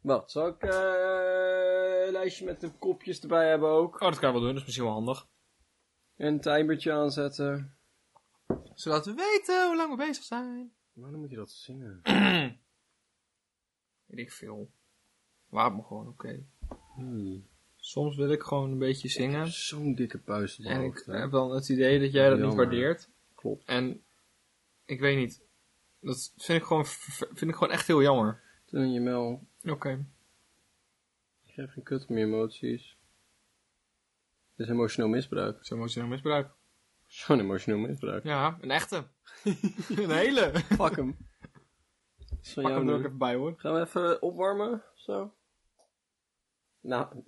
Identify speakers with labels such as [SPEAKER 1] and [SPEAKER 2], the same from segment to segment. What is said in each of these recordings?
[SPEAKER 1] Wacht, zal ik eh, een lijstje met de kopjes erbij hebben ook?
[SPEAKER 2] Oh, dat kan je wel doen, dat is misschien wel handig.
[SPEAKER 1] En een timertje aanzetten.
[SPEAKER 2] Zodat we weten hoe lang we bezig zijn.
[SPEAKER 1] Waarom moet je dat zingen?
[SPEAKER 2] Weet ik veel. Laat me gewoon, oké.
[SPEAKER 1] Hmm.
[SPEAKER 2] Soms wil ik gewoon een beetje zingen.
[SPEAKER 1] Zo'n dikke puist op mijn
[SPEAKER 2] En ik eh,
[SPEAKER 1] hoofd, hè?
[SPEAKER 2] heb dan het idee dat jij dat niet
[SPEAKER 1] Jammer.
[SPEAKER 2] waardeert.
[SPEAKER 1] Klopt.
[SPEAKER 2] En ik weet niet. Dat vind ik gewoon, ver- vind ik gewoon echt heel jammer.
[SPEAKER 1] Toen je mel.
[SPEAKER 2] Oké.
[SPEAKER 1] Ik geef geen kut om je emoties. Dit is emotioneel misbruik.
[SPEAKER 2] Zo moet je nog misbruik.
[SPEAKER 1] Zo'n emotioneel misbruik.
[SPEAKER 2] Ja, een echte. een hele.
[SPEAKER 1] Pak hem. Dat is van
[SPEAKER 2] Pak
[SPEAKER 1] jou
[SPEAKER 2] hem er ook
[SPEAKER 1] nu.
[SPEAKER 2] even bij hoor.
[SPEAKER 1] Gaan we even opwarmen? Zo. Nou,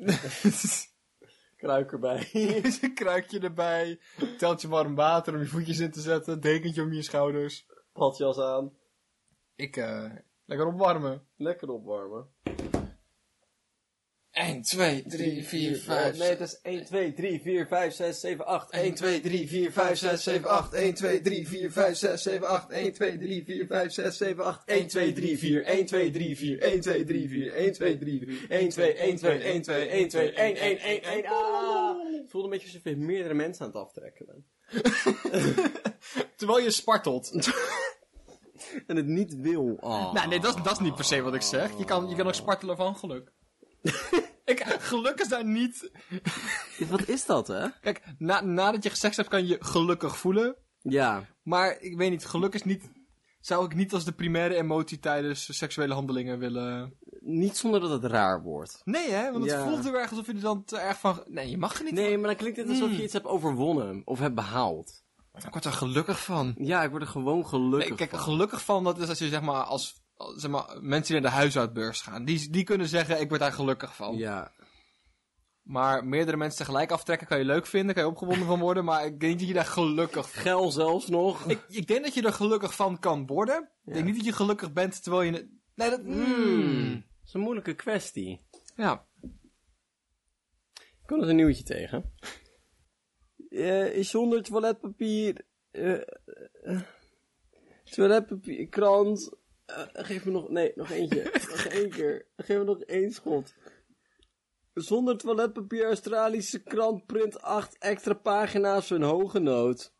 [SPEAKER 1] kruik erbij.
[SPEAKER 2] Is een kruikje erbij. Teltje warm water om je voetjes in te zetten. Dekentje om je schouders.
[SPEAKER 1] Padjas aan.
[SPEAKER 2] Ik, eh, lekker opwarmen.
[SPEAKER 1] Lekker opwarmen.
[SPEAKER 2] 1, 2, 3, 4,
[SPEAKER 1] eh, Nee, het is 1, 2, 3, 4, 5, 6, 7, 8. 1, 2,
[SPEAKER 2] 3, 4,
[SPEAKER 1] 5, 6, 7, 8. 1, 2, 3, 4, 5, 6, 7, 8. 1, 2, 3, 4, 5, 6, 7, 8. 1, 2, 3, 4. 1, 2, 3, 4. 1, 2, 3, 4. 1, 2, 3, 4. 1, 2, 1, 2, 1, 2, 1, 2, 1, 1, 1, 1. Het Ah! voelde een beetje alsof je meerdere mensen aan het aftrekken bent.
[SPEAKER 2] Terwijl je spartelt.
[SPEAKER 1] En het niet wil. Ah.
[SPEAKER 2] Nou, nee, dat, is- dat is niet per se wat ik zeg. Je kan, je kan ook spartelen van geluk. ik, geluk is daar niet...
[SPEAKER 1] Wat is dat, hè?
[SPEAKER 2] Kijk, na, nadat je seks hebt kan je gelukkig voelen.
[SPEAKER 1] Ja.
[SPEAKER 2] Maar ik weet niet, geluk is niet... Zou ik niet als de primaire emotie tijdens seksuele handelingen willen...
[SPEAKER 1] Niet zonder dat het raar wordt.
[SPEAKER 2] Nee hè, want het
[SPEAKER 1] Ja.
[SPEAKER 2] voelt heel erg alsof je er dan te erg van... Nee, je Hmm. mag er niet
[SPEAKER 1] Nee, maar dan klinkt het alsof je iets hebt overwonnen. Of hebt behaald.
[SPEAKER 2] van. Ik word er gelukkig van.
[SPEAKER 1] Ja, ik word er gewoon gelukkig
[SPEAKER 2] Nee, kijk,
[SPEAKER 1] van.
[SPEAKER 2] gelukkig van dat is als je zeg maar als... als, Zeg maar, mensen die naar de huishoudbeurs gaan, die, die kunnen zeggen: Ik word daar gelukkig van.
[SPEAKER 1] Ja.
[SPEAKER 2] Maar meerdere mensen tegelijk aftrekken kan je leuk vinden, kan je opgewonden van worden, maar ik denk niet dat je daar gelukkig van.
[SPEAKER 1] Geil zelfs nog.
[SPEAKER 2] Ik, ik denk dat je er gelukkig van kan worden. Ik denk niet dat je gelukkig bent terwijl je. ne- Nee, dat. Mm.
[SPEAKER 1] Hmm. Dat is een moeilijke kwestie.
[SPEAKER 2] Ja.
[SPEAKER 1] Ik kom er een nieuwtje tegen. Eh, is zonder toiletpapier. eh, eh, toiletpapier, krant. eh, geef me nog. Nee, nog eentje. nog één keer. Geef me nog één schot. Zonder toiletpapier, Australische krant print 8 extra pagina's voor een hoge nood.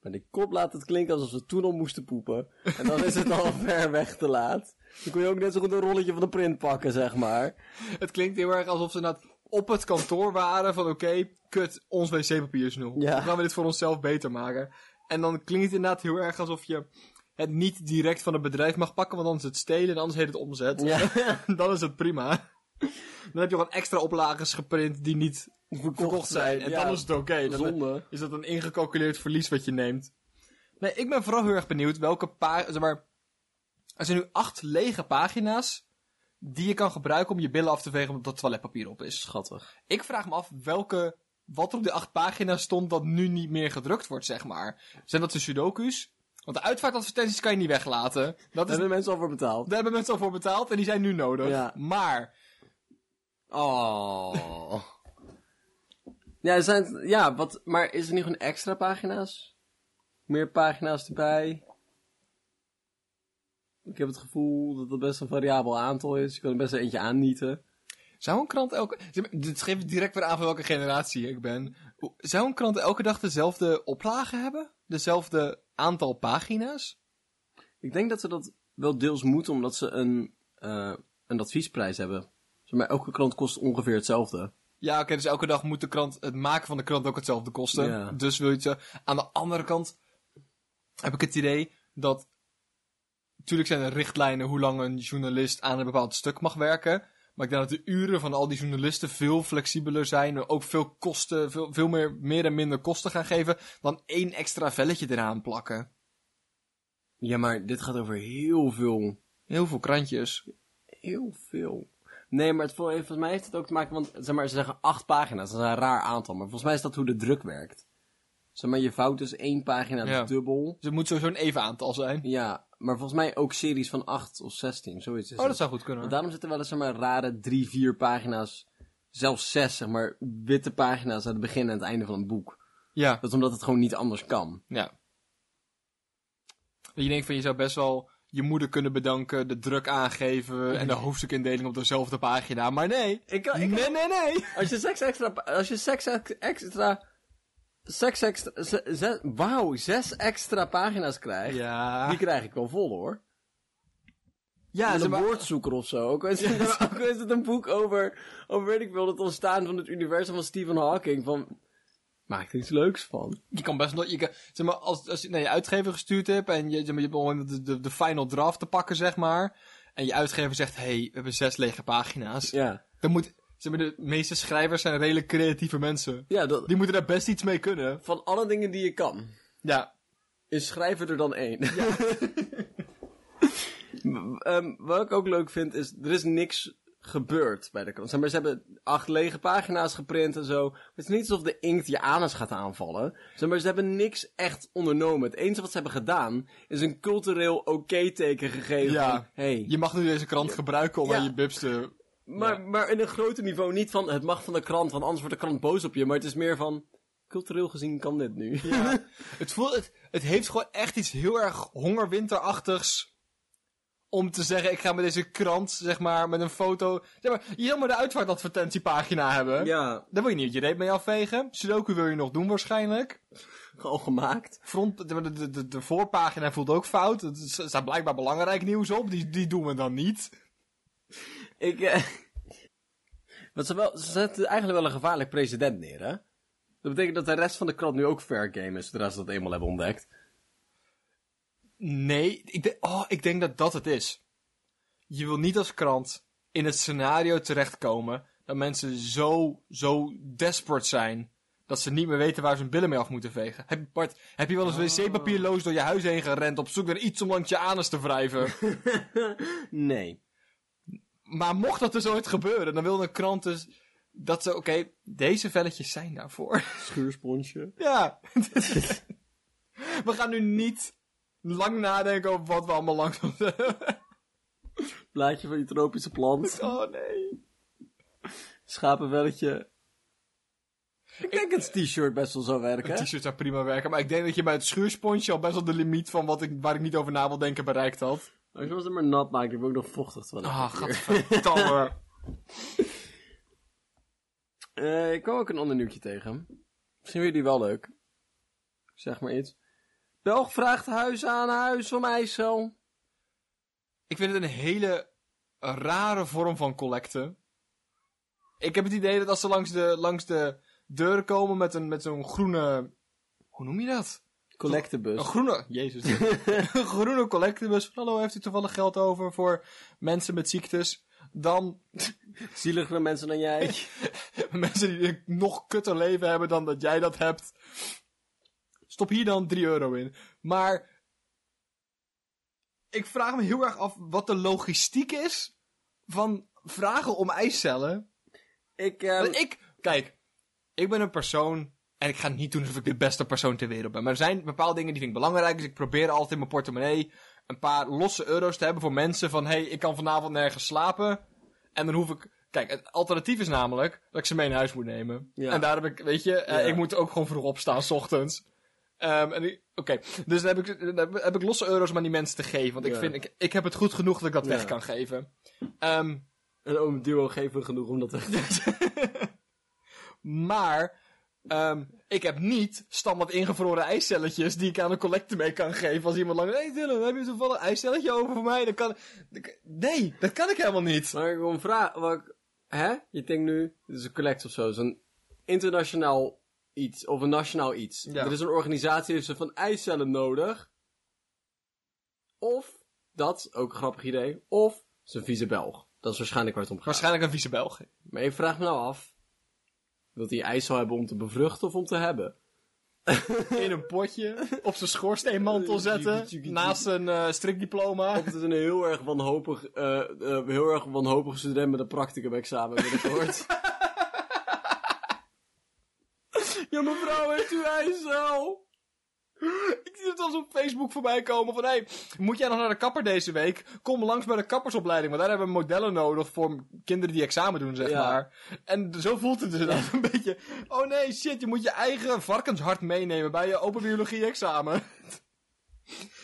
[SPEAKER 1] Maar die kop laat het klinken alsof ze toen al moesten poepen. En dan is het al ver weg te laat. Dan kun je ook net zo goed een rolletje van de print pakken, zeg maar.
[SPEAKER 2] Het klinkt heel erg alsof ze nou op het kantoor waren van: oké, kut, ons wc-papier is nul.
[SPEAKER 1] Ja.
[SPEAKER 2] Hoe gaan we dit voor onszelf beter maken? En dan klinkt het inderdaad heel erg alsof je het niet direct van het bedrijf mag pakken, want anders is het stelen en anders heet het omzet.
[SPEAKER 1] Ja.
[SPEAKER 2] dan is het prima. Dan heb je gewoon extra oplages geprint die niet verkocht zijn. En dan is het oké. Dan
[SPEAKER 1] Zonde.
[SPEAKER 2] Is dat een ingecalculeerd verlies wat je neemt? Nee, ik ben vooral heel erg benieuwd welke paar. Zeg maar, er zijn nu acht lege pagina's die je kan gebruiken om je billen af te vegen omdat dat toiletpapier op is.
[SPEAKER 1] Schattig.
[SPEAKER 2] Ik vraag me af welke. Wat er op die acht pagina's stond dat nu niet meer gedrukt wordt, zeg maar. Zijn dat de sudoku's? Want de uitvaartadvertenties kan je niet weglaten. Dat
[SPEAKER 1] Daar
[SPEAKER 2] is,
[SPEAKER 1] hebben mensen al voor betaald.
[SPEAKER 2] daar hebben mensen al voor betaald en die zijn nu nodig.
[SPEAKER 1] Ja.
[SPEAKER 2] Maar
[SPEAKER 1] Oh. ja, er zijn, ja wat, maar is er niet gewoon extra pagina's? Meer pagina's erbij? Ik heb het gevoel dat dat best een variabel aantal is. Je kan er best eentje aannieten.
[SPEAKER 2] Zou een krant elke... Zeg maar, Dit geeft direct weer aan van welke generatie ik ben. O- Zou een krant elke dag dezelfde oplage hebben? Dezelfde aantal pagina's?
[SPEAKER 1] Ik denk dat ze dat wel deels moeten omdat ze een, eh, een adviesprijs hebben. Zeg maar, elke krant kost ongeveer hetzelfde.
[SPEAKER 2] Ja, oké, dus elke dag moet de krant... Het maken van de krant ook hetzelfde kosten.
[SPEAKER 1] Ja.
[SPEAKER 2] Dus wil je het... zo- Aan de andere kant heb ik het idee dat... Natuurlijk zijn er richtlijnen hoe lang een journalist aan een bepaald stuk mag werken. Maar ik denk dat de uren van al die journalisten veel flexibeler zijn. en Ook veel kosten, veel, veel meer, meer en minder kosten gaan geven. Dan één extra velletje eraan plakken.
[SPEAKER 1] Ja, maar dit gaat over heel veel
[SPEAKER 2] Heel veel krantjes.
[SPEAKER 1] heel veel. Nee, maar het, vol- volgens mij heeft het ook te maken, want zeg maar, ze zeggen acht pagina's, dat is een raar aantal, maar volgens mij is dat hoe de druk werkt. Zeg maar, je vouwt dus één pagina
[SPEAKER 2] Ja.
[SPEAKER 1] dubbel.
[SPEAKER 2] Dus het moet sowieso een even aantal zijn.
[SPEAKER 1] Ja, maar volgens mij ook series van acht of zestien, zoiets is
[SPEAKER 2] Oh, dat
[SPEAKER 1] het.
[SPEAKER 2] zou goed kunnen.
[SPEAKER 1] Want daarom zitten wel eens zeg maar rare drie, vier pagina's, zelfs zes, zeg maar, witte pagina's aan het begin en het einde van een boek.
[SPEAKER 2] Ja.
[SPEAKER 1] Dat is omdat het gewoon niet anders kan.
[SPEAKER 2] ja. Dat je denkt van, je zou best wel... je moeder kunnen bedanken, de druk aangeven en de hoofdstukindeling op dezelfde pagina. Maar nee.
[SPEAKER 1] Ik kan- ik kan-
[SPEAKER 2] nee, nee, nee.
[SPEAKER 1] Als je seks extra... Als je seks ex- extra... Seks extra... ze- zes- Wauw, zes extra pagina's krijgt.
[SPEAKER 2] Ja.
[SPEAKER 1] Die krijg ik wel vol, hoor.
[SPEAKER 2] Ja,
[SPEAKER 1] Met
[SPEAKER 2] ze
[SPEAKER 1] een
[SPEAKER 2] maar-
[SPEAKER 1] woordzoeker of zo. Ook al is, het, ook al is het een boek over, over, weet ik veel, het ontstaan van het universum van Stephen Hawking. Van, maak er iets leuks van.
[SPEAKER 2] Je kan best nog, je kan, zeg maar, als, als je naar je uitgever gestuurd hebt en je, zeg maar, je hebt op een moment de, de, de final draft te pakken, zeg maar. En je uitgever zegt, hé, hey, we hebben zes lege pagina's.
[SPEAKER 1] Ja.
[SPEAKER 2] Dan moet, zeg maar, de meeste schrijvers zijn redelijk creatieve mensen.
[SPEAKER 1] Ja, dat,
[SPEAKER 2] Die moeten daar best iets mee kunnen.
[SPEAKER 1] van alle dingen die je kan,
[SPEAKER 2] Ja.
[SPEAKER 1] is schrijven er dan één. M- ehm, wat ik ook leuk vind, is er is niks gebeurd bij de krant. Zeg maar, ze hebben acht lege pagina's geprint en zo. Maar Het is niet alsof de inkt je anus gaat aanvallen. Zeg maar, ze hebben niks echt ondernomen. Het enige wat ze hebben gedaan, is een cultureel oké-teken gegeven.
[SPEAKER 2] Ja.
[SPEAKER 1] van, hey,
[SPEAKER 2] Je mag nu deze krant gebruiken om
[SPEAKER 1] Ja.
[SPEAKER 2] aan je bibs te...
[SPEAKER 1] Maar, maar in een groter niveau niet van het mag van de krant, want anders wordt de krant boos op je. Maar het is meer van, cultureel gezien kan dit nu.
[SPEAKER 2] Het voelt, het, het heeft gewoon echt iets heel erg hongerwinterachtigs. Om te zeggen, ik ga met deze krant, zeg maar, met een foto. Zeg maar, je wil maar de uitvaartadvertentiepagina hebben.
[SPEAKER 1] ja,
[SPEAKER 2] Daar wil je niet je reet mee afvegen. Sudoku wil je nog doen waarschijnlijk.
[SPEAKER 1] al gemaakt.
[SPEAKER 2] Front, de, de, de, de voorpagina voelt ook fout. Er staat blijkbaar belangrijk nieuws op. Die, die doen we dan niet.
[SPEAKER 1] Ik, eh, wat ze, wel, ze zetten eigenlijk wel een gevaarlijk president neer, hè? Dat betekent dat de rest van de krant nu ook fair game is, zodra ze dat eenmaal hebben ontdekt.
[SPEAKER 2] Nee, ik, de- oh, ik denk dat dat het is. Je wil niet als krant in het scenario terechtkomen dat mensen zo, zo desperate zijn dat ze niet meer weten waar ze hun billen mee af moeten vegen. Heb, Bart, heb je wel eens wc-papierloos door je huis heen gerend op zoek naar iets om langs je anus te wrijven?
[SPEAKER 1] Nee.
[SPEAKER 2] Maar mocht dat dus ooit gebeuren, dan wil een krant dus dat ze, oké, deze velletjes zijn daarvoor.
[SPEAKER 1] Schuursponsje.
[SPEAKER 2] ja. we gaan nu niet lang nadenken over wat we allemaal langs moeten.
[SPEAKER 1] Blaadje van je tropische plant.
[SPEAKER 2] oh nee.
[SPEAKER 1] Schapenwelletje. Ik denk dat het t-shirt best wel zou werken. hè?
[SPEAKER 2] T-shirt zou prima werken, maar ik denk dat je bij het schuursponsje al best wel de limiet van wat ik, waar ik niet over na wil denken bereikt had.
[SPEAKER 1] Als je het maar nat maakt, heb ik ook nog vochtig toilet.
[SPEAKER 2] Ah, gadverdamme.
[SPEAKER 1] Eh, ik kwam ook een ander nieuwtje tegen. Misschien vind je die wel leuk. Zeg maar iets. Belg vraagt huis aan huis om IJssel.
[SPEAKER 2] Ik vind het een hele rare vorm van collecten. Ik heb het idee dat als ze langs de, langs de deur komen met, een, met zo'n groene... Hoe noem je dat? Een
[SPEAKER 1] Collectebus.
[SPEAKER 2] groene... Jezus. een groene collectebus. Hallo, heeft u toevallig geld over voor mensen met ziektes? Dan
[SPEAKER 1] Zieligere mensen dan jij.
[SPEAKER 2] mensen die een nog kutter leven hebben dan dat jij dat hebt. Stop hier dan 3 euro in. Maar ik vraag me heel erg af wat de logistiek is van vragen om ijscellen.
[SPEAKER 1] ik, ehm,
[SPEAKER 2] Want ik, kijk, ik ben een persoon en ik ga niet doen alsof ik de beste persoon ter wereld ben. Maar er zijn bepaalde dingen die vind ik belangrijk. Dus ik probeer altijd in mijn portemonnee een paar losse euro's te hebben voor mensen van... hey, ik kan vanavond nergens slapen. En dan hoef ik... Kijk, het alternatief is namelijk dat ik ze mee naar huis moet nemen.
[SPEAKER 1] Ja.
[SPEAKER 2] En daar heb ik, weet je, eh,
[SPEAKER 1] Ja.
[SPEAKER 2] ik moet ook gewoon vroeg opstaan, s ochtends. Ehm, en ik- Oké, dus dan heb, ik, dan heb- heb ik losse euro's om aan die mensen te geven. Want ik
[SPEAKER 1] Ja.
[SPEAKER 2] vind, ik, ik heb het goed genoeg dat ik dat
[SPEAKER 1] Ja.
[SPEAKER 2] weg kan geven. Ehm
[SPEAKER 1] Een oom duo geven genoeg om dat te...
[SPEAKER 2] Maar ehm, ik heb niet standaard ingevroren ijscelletjes die ik aan een collecte mee kan geven. Als iemand lang. hey Dylan, heb je toevallig een ijscelletje over voor mij? Dan kan... dan kan- Nee, dat kan ik helemaal niet.
[SPEAKER 1] maar ik wil een vraag... Wat ik- hè? Je denkt nu, dit is een collect of zo. Zo'n internationaal iets. Of een nationaal iets.
[SPEAKER 2] Ja.
[SPEAKER 1] Er is een organisatie, heeft ze van eicellen nodig. Of, dat, ook een grappig idee. Of, ze vieze Belg. Dat is waarschijnlijk waar het om gaat.
[SPEAKER 2] Waarschijnlijk een vieze Belg.
[SPEAKER 1] Maar ik vraag me nou af. Wilt hij ijs al hebben om te bevruchten of om te hebben?
[SPEAKER 2] In een potje op zijn schoorsteenmantel zetten. Naast zijn eh, strikdiploma.
[SPEAKER 1] Of het is een heel erg wanhopig, eh, eh, heel erg wanhopig student met een practicum-examen binnenkort. ja, mevrouw, heeft u ijs al?
[SPEAKER 2] Ik zie het als op Facebook voorbij komen van... Hey, moet jij nog naar de kapper deze week? Kom langs bij de kappersopleiding. Want daar hebben we modellen nodig voor kinderen die examen doen, zeg
[SPEAKER 1] Ja.
[SPEAKER 2] maar. En zo voelt het dus dan een beetje... Oh nee, shit, je moet je eigen varkenshart meenemen bij je open biologie examen.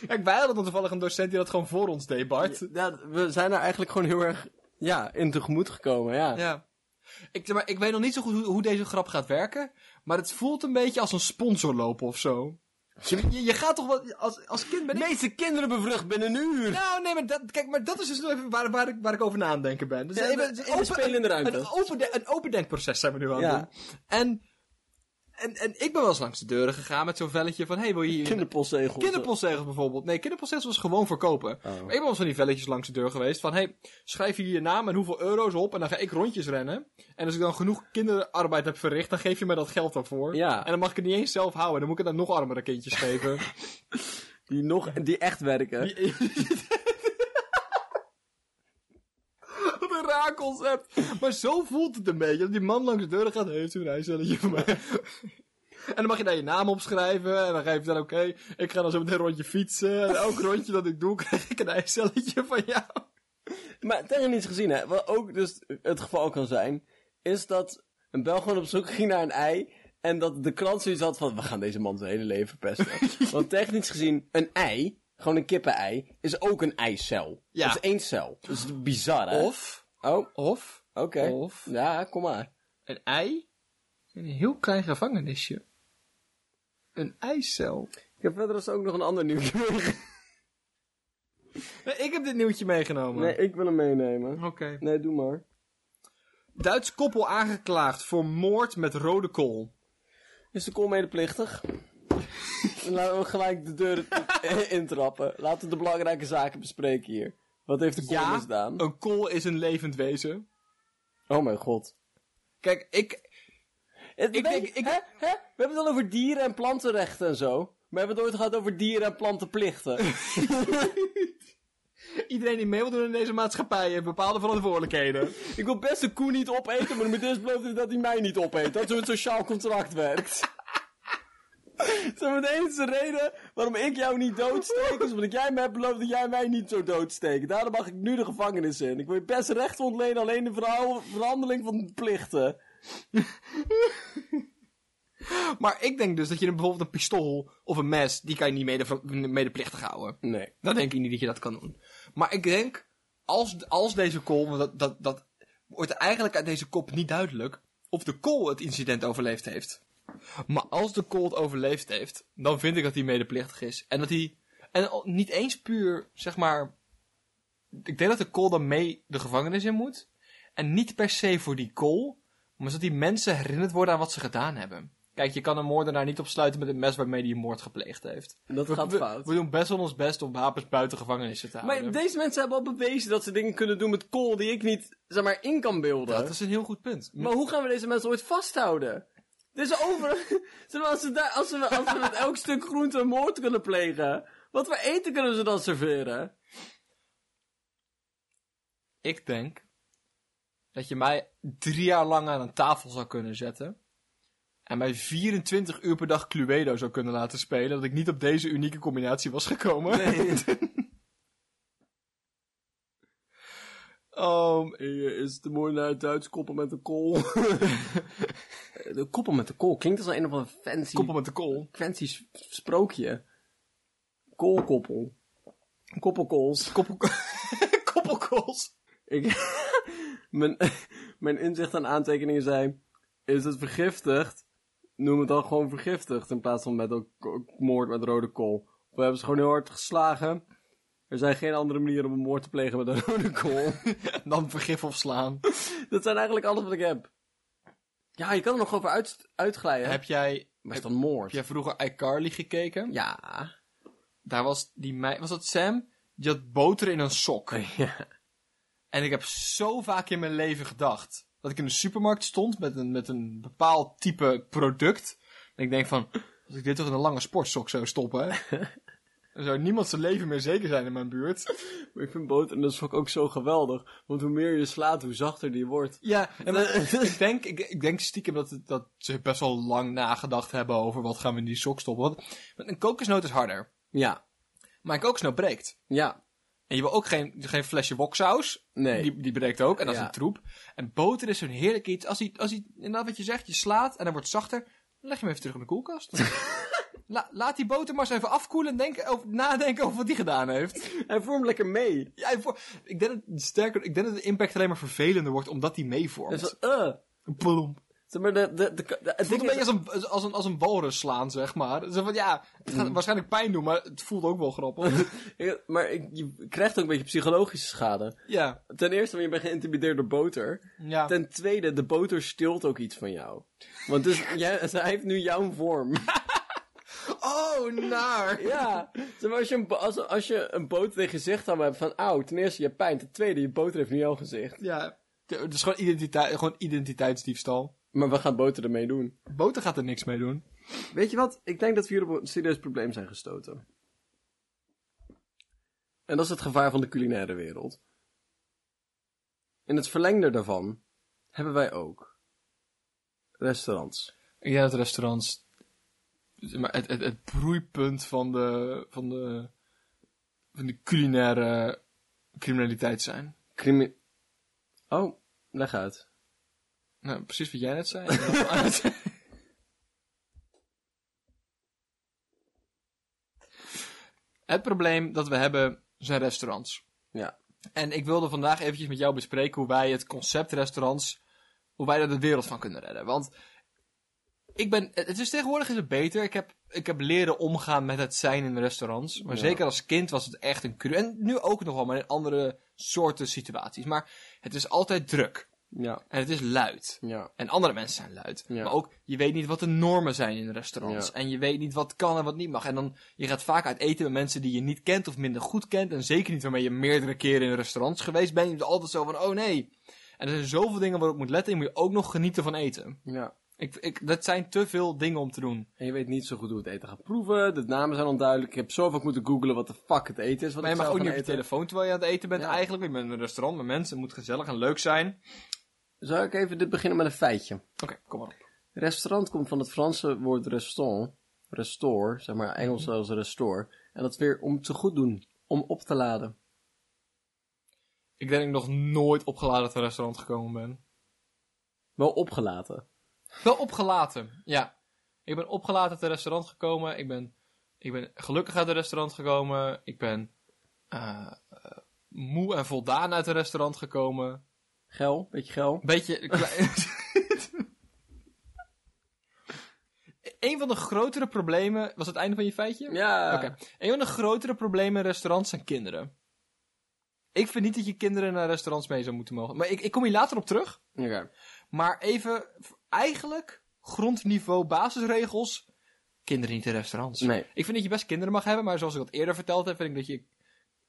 [SPEAKER 2] Kijk, wij hadden dan toevallig een docent die dat gewoon voor ons deed, Bart. Ja.
[SPEAKER 1] Ja, we zijn er eigenlijk gewoon heel erg ja, in tegemoet gekomen, ja.
[SPEAKER 2] Ik, zeg maar, ik weet nog niet zo goed hoe, hoe deze grap gaat werken. Maar het voelt een beetje als een sponsor lopen of zo. Je, je, je gaat toch wel... Als, als kind ben ik...
[SPEAKER 1] De meeste kinderen bevrucht binnen een uur.
[SPEAKER 2] Nou, nee, maar dat, kijk, maar dat is dus nog even waar, waar, ik, waar ik over na aan het denken ben. Dus
[SPEAKER 1] Ja,
[SPEAKER 2] even,
[SPEAKER 1] we-
[SPEAKER 2] het is
[SPEAKER 1] we spelen in de ruimte.
[SPEAKER 2] Een open, de- een open denkproces zijn we nu aan het
[SPEAKER 1] Ja.
[SPEAKER 2] doen. En, en, en ik ben wel eens langs de deuren gegaan met zo'n velletje van... hey, wil je hier...
[SPEAKER 1] Kinderpostzegel.
[SPEAKER 2] Kinderpostzegels bijvoorbeeld. Nee, kinderpostzegels was gewoon verkopen.
[SPEAKER 1] Oh.
[SPEAKER 2] Maar ik ben wel eens van die velletjes langs de deur geweest. Van, hey, schrijf hier je naam en hoeveel euro's op. En dan ga ik rondjes rennen. En als ik dan genoeg kinderarbeid heb verricht, dan geef je me dat geld daarvoor.
[SPEAKER 1] Ja.
[SPEAKER 2] En dan mag ik het niet eens zelf houden. Dan moet ik het aan nog armere kindjes geven.
[SPEAKER 1] Die, nog, die echt werken.
[SPEAKER 2] Die- Wat een raar concept. Maar zo voelt het een beetje. Dat die man langs de deur gaat, heeft u een ijsstelletje voor mij? En dan mag je daar je naam op schrijven. En dan geef je dan, oké, ik ga dan zo meteen een rondje fietsen. En elk rondje dat ik doe, krijg ik een ijsstelletje van jou.
[SPEAKER 1] Maar technisch gezien, hè, wat ook dus het geval kan zijn, is dat een Belg gewoon op zoek ging naar een ei. En dat de krant zoiets had van, we gaan deze man zijn hele leven verpesten. Want technisch gezien, een ei, gewoon een kippenei, is ook een eicel.
[SPEAKER 2] Ja.
[SPEAKER 1] Dat is één cel. Dat is bizar, hè?
[SPEAKER 2] Of,
[SPEAKER 1] Oh, oké.
[SPEAKER 2] of, Of-
[SPEAKER 1] Ja, kom maar.
[SPEAKER 2] een ei in een heel klein gevangenisje. Een eicel.
[SPEAKER 1] Ik heb verder als ook nog een ander nieuwtje meegenomen.
[SPEAKER 2] Ik heb dit nieuwtje meegenomen.
[SPEAKER 1] Nee, ik wil hem meenemen.
[SPEAKER 2] Oké.
[SPEAKER 1] Nee, doe maar.
[SPEAKER 2] Duits koppel aangeklaagd voor moord met rode kool.
[SPEAKER 1] Is de kool medeplichtig? Laten we gelijk de deur intrappen. Laten we de belangrijke zaken bespreken hier. Wat heeft de kool
[SPEAKER 2] Ja, Oh.
[SPEAKER 1] misdaan?
[SPEAKER 2] een kool is een levend wezen.
[SPEAKER 1] Oh mijn god.
[SPEAKER 2] Kijk, ik...
[SPEAKER 1] Ik
[SPEAKER 2] denk- ik-
[SPEAKER 1] hè, hè? We hebben het al over dieren en plantenrechten en zo. Maar we hebben het nooit gehad over dieren en plantenplichten.
[SPEAKER 2] Iedereen die mee wil doen in deze maatschappij heeft bepaalde verantwoordelijkheden.
[SPEAKER 1] ik wil best de koe niet opeten, maar de minister belooft hij dat hij mij niet opeet. Dat is hoe het sociaal contract werkt. Dat is de enige reden waarom ik jou niet doodsteek, is omdat jij me hebt beloofd dat jij mij niet zo doodsteekt. Daarom mag ik nu de gevangenis in. Ik wil je best recht ontlenen, alleen de verhaal- verhandeling van de plichten.
[SPEAKER 2] Maar ik denk dus dat je een- bijvoorbeeld een pistool of een mes, die kan je niet mede, medeplichtig houden.
[SPEAKER 1] Nee.
[SPEAKER 2] Dan denk ik niet dat je dat kan doen. Maar ik denk, als, als deze kool, want dat, dat, dat wordt eigenlijk uit deze kop niet duidelijk, of de kool het incident overleefd heeft. Maar als de kool het overleefd heeft, dan vind ik dat hij medeplichtig is. En dat hij, en al- niet eens puur, zeg maar, ik denk dat de kool dan mee de gevangenis in moet. En niet per se voor die kool, maar zodat die mensen herinnerd worden aan wat ze gedaan hebben. Kijk, je kan een moordenaar niet opsluiten met het mes waarmee hij een moord gepleegd heeft.
[SPEAKER 1] Dat
[SPEAKER 2] We-
[SPEAKER 1] gaat
[SPEAKER 2] we,
[SPEAKER 1] fout.
[SPEAKER 2] We doen best wel ons best om wapens buiten gevangenissen te houden.
[SPEAKER 1] Maar deze mensen hebben al bewezen dat ze dingen kunnen doen met kool die ik niet, zeg maar, in kan beelden.
[SPEAKER 2] dat is een heel goed punt.
[SPEAKER 1] Maar hoe gaan we deze mensen ooit vasthouden? Dit is over. Zeg maar, als, ze daar, als, we, als we met elk stuk groente een moord kunnen plegen, wat voor eten kunnen ze dan serveren?
[SPEAKER 2] Ik denk dat je mij drie jaar lang aan een tafel zou kunnen zetten. En mij 24 uur per dag Cluedo zou kunnen laten spelen. Dat ik niet op deze unieke combinatie was gekomen. Ehm,
[SPEAKER 1] Hier is de mooi naar het Duits koppel met de kool. de koppel met de kool klinkt als een of een fancy,
[SPEAKER 2] koppel met de kool.
[SPEAKER 1] fancy s- sprookje. Koolkoppel. Koppelkools.
[SPEAKER 2] Koppel... Koppelkools.
[SPEAKER 1] Ik, mijn, mijn inzicht en aantekeningen zijn: is het vergiftigd? Noem het dan gewoon vergiftigd in plaats van met ook ko- moord met rode kool. Of hebben ze gewoon heel hard geslagen? Er zijn geen andere manieren om een moord te plegen met een rode kool.
[SPEAKER 2] Dan vergif opslaan.
[SPEAKER 1] Dat zijn eigenlijk alles wat ik heb. Ja, je kan er nog over uit, uitglijden.
[SPEAKER 2] Heb jij...
[SPEAKER 1] maar
[SPEAKER 2] Heb
[SPEAKER 1] is dan moord?
[SPEAKER 2] jij vroeger iCarly gekeken?
[SPEAKER 1] Ja.
[SPEAKER 2] Daar was die meid... Was dat Sam? Die had boter in een sok.
[SPEAKER 1] ja.
[SPEAKER 2] En ik heb zo vaak in mijn leven gedacht dat ik in de supermarkt stond met een, met een bepaald type product. En ik denk van, als ik dit toch in een lange sportsok zou stoppen, hè? dan zou niemand zijn leven meer zeker zijn in mijn buurt.
[SPEAKER 1] Maar ik vind boter en de sok ook zo geweldig. Want hoe meer je slaat, hoe zachter die wordt.
[SPEAKER 2] Ja, en maar ik, denk, ik, ik denk stiekem dat, het- dat ze best wel lang nagedacht hebben over wat gaan we in die sok stoppen. Want want een kokosnoot is harder,
[SPEAKER 1] Ja.
[SPEAKER 2] maar een kokosnoot breekt.
[SPEAKER 1] Ja.
[SPEAKER 2] En je wil ook geen, geen flesje woksaus.
[SPEAKER 1] Nee.
[SPEAKER 2] Die, die breekt ook. En dat is
[SPEAKER 1] Ja.
[SPEAKER 2] een troep. En boter is zo'n heerlijk iets. Als hij, als hij inderdaad wat je zegt, je slaat en hij wordt zachter. Dan leg je hem even terug in de koelkast. La- laat die boter maar eens even afkoelen en denk over, nadenken over wat die gedaan heeft.
[SPEAKER 1] Hij vormt lekker mee.
[SPEAKER 2] Ja, voor, ik, denk dat, sterker, ik denk dat de impact alleen maar vervelender wordt omdat die meevormt.
[SPEAKER 1] Dus van, eh.
[SPEAKER 2] Plomp.
[SPEAKER 1] Zeg maar, de, de, de, de- het
[SPEAKER 2] Het voelt
[SPEAKER 1] ding
[SPEAKER 2] een
[SPEAKER 1] is,
[SPEAKER 2] beetje als een, als, een, als een walrus slaan, zeg maar. Zo van, ja, het
[SPEAKER 1] Hmm.
[SPEAKER 2] gaat waarschijnlijk pijn doen, maar het voelt ook wel grappig.
[SPEAKER 1] ik- maar ik- je krijgt ook een beetje psychologische schade.
[SPEAKER 2] ja.
[SPEAKER 1] Ten eerste, want je bent geïntimideerd door boter.
[SPEAKER 2] ja.
[SPEAKER 1] Ten tweede, de boter stilt ook iets van jou. Want dus, jij, hij heeft nu jouw vorm.
[SPEAKER 2] Oh, naar.
[SPEAKER 1] Ja, zeg maar, als je een, bo- als, als je een boter tegen je gezicht aan hebt van, auw, ten eerste je hebt pijn, ten tweede je boter heeft nu jouw gezicht.
[SPEAKER 2] Ja. Het is gewoon, identiteit, gewoon identiteitsdiefstal.
[SPEAKER 1] Maar wat gaat boter ermee doen?
[SPEAKER 2] Boter gaat er niks mee doen.
[SPEAKER 1] Weet je wat? Ik denk dat we hier op een serieus probleem zijn gestoten. En dat is het gevaar van de culinaire wereld. In het verlengde daarvan hebben wij ook restaurants.
[SPEAKER 2] Ik denk dat restaurants... Maar het, het, het broeipunt van de, van de, van de culinaire criminaliteit zijn.
[SPEAKER 1] Crimi... Oh, leg uit.
[SPEAKER 2] Nou, precies wat jij net zei. het probleem dat we hebben zijn restaurants.
[SPEAKER 1] Ja.
[SPEAKER 2] En ik wilde vandaag eventjes met jou bespreken hoe wij het concept restaurants, hoe wij daar de wereld van kunnen redden. Want ik ben, het is tegenwoordig is het beter. Ik heb, ik heb leren omgaan met het zijn in restaurants. Maar
[SPEAKER 1] Ja.
[SPEAKER 2] zeker als kind was het echt een cru. En nu ook nog wel, maar in andere soorten situaties. Maar het is altijd druk.
[SPEAKER 1] Ja.
[SPEAKER 2] En het is luid.
[SPEAKER 1] Ja.
[SPEAKER 2] En andere mensen zijn luid.
[SPEAKER 1] Ja.
[SPEAKER 2] Maar ook, je weet niet wat de normen zijn in restaurants.
[SPEAKER 1] Ja.
[SPEAKER 2] En je weet niet wat kan en wat niet mag. En dan, je gaat vaak uit eten met mensen die je niet kent of minder goed kent. En zeker niet waarmee je meerdere keren in restaurants geweest bent. Je bent altijd zo van, oh nee. En er zijn zoveel dingen waarop je moet letten. En je moet ook nog genieten van eten.
[SPEAKER 1] Ja.
[SPEAKER 2] Ik, ik, dat zijn te veel dingen om te doen.
[SPEAKER 1] En je weet niet zo goed hoe het eten gaat proeven. De namen zijn onduidelijk. Ik heb zoveel moeten googlen wat de fuck het eten is. Wat
[SPEAKER 2] Maar je
[SPEAKER 1] ik
[SPEAKER 2] mag
[SPEAKER 1] zou
[SPEAKER 2] ook niet op
[SPEAKER 1] gaan
[SPEAKER 2] je
[SPEAKER 1] eten.
[SPEAKER 2] telefoon terwijl je aan het eten bent
[SPEAKER 1] Ja.
[SPEAKER 2] eigenlijk. Je bent in een restaurant met mensen. Het moet gezellig en leuk zijn.
[SPEAKER 1] Zou ik even dit beginnen met een feitje?
[SPEAKER 2] Oké, kom maar op.
[SPEAKER 1] Restaurant komt van het Franse woord restaurant. Restore, zeg maar Engels als restore. En dat is weer om te goed doen. Om op te laden.
[SPEAKER 2] Ik denk dat ik nog nooit opgeladen uit een restaurant gekomen ben.
[SPEAKER 1] Wel opgelaten.
[SPEAKER 2] Wel opgelaten, ja. Ik ben opgelaten uit het restaurant gekomen. Ik ben, ik ben gelukkig uit het restaurant gekomen. Ik ben eh, eh, moe en voldaan uit het restaurant gekomen.
[SPEAKER 1] Gel, beetje gel.
[SPEAKER 2] Beetje klein. Een van de grotere problemen. Was het einde van je feitje?
[SPEAKER 1] Ja.
[SPEAKER 2] Oké. Een van de grotere problemen in restaurants zijn kinderen. Ik vind niet dat je kinderen naar restaurants mee zou moeten mogen. Maar ik, ik kom hier later op terug.
[SPEAKER 1] Oké.
[SPEAKER 2] Maar even, v- eigenlijk, grondniveau basisregels. Kinderen niet in restaurants.
[SPEAKER 1] Nee.
[SPEAKER 2] Ik vind dat je best kinderen mag hebben, maar zoals ik dat eerder verteld heb, vind ik dat je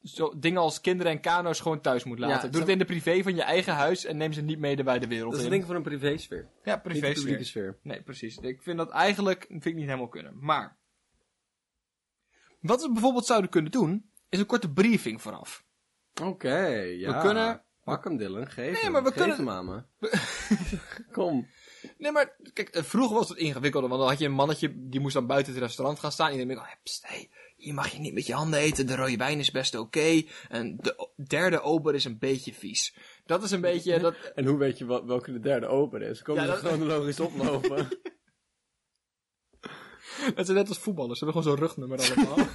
[SPEAKER 2] zo, dingen als kinderen en kano's gewoon thuis moet laten.
[SPEAKER 1] Ja,
[SPEAKER 2] Doe
[SPEAKER 1] zo-
[SPEAKER 2] het in de privé van je eigen huis en neem ze niet mede bij de wereld
[SPEAKER 1] Dat is
[SPEAKER 2] in.
[SPEAKER 1] een ding van een privésfeer.
[SPEAKER 2] Ja,
[SPEAKER 1] Niet een
[SPEAKER 2] privé
[SPEAKER 1] publieke
[SPEAKER 2] sfeer.
[SPEAKER 1] sfeer.
[SPEAKER 2] Nee, precies. Ik vind dat eigenlijk dat vind ik niet helemaal kunnen. Maar, wat we bijvoorbeeld zouden kunnen doen, is een korte briefing vooraf.
[SPEAKER 1] Oké, ja.
[SPEAKER 2] We kunnen-
[SPEAKER 1] Pak hem Dylan, geef
[SPEAKER 2] Nee,
[SPEAKER 1] hem.
[SPEAKER 2] maar we
[SPEAKER 1] Geef
[SPEAKER 2] kunnen-
[SPEAKER 1] hem aan me. Kom.
[SPEAKER 2] Nee, maar kijk, eh, vroeger was het ingewikkelder, want dan had je een mannetje die moest dan buiten het restaurant gaan staan. En dan denk ik, oh, pst, hey, hier mag je niet met je handen eten, de rode wijn is best oké. En de o- derde ober is een beetje vies. Dat is een beetje, dat,
[SPEAKER 1] En hoe weet je wel- welke de derde open is? Kom
[SPEAKER 2] Ja,
[SPEAKER 1] je
[SPEAKER 2] dat-
[SPEAKER 1] chronologisch oplopen.
[SPEAKER 2] dat zijn net als voetballers, ze hebben gewoon zo'n rugnummer allemaal.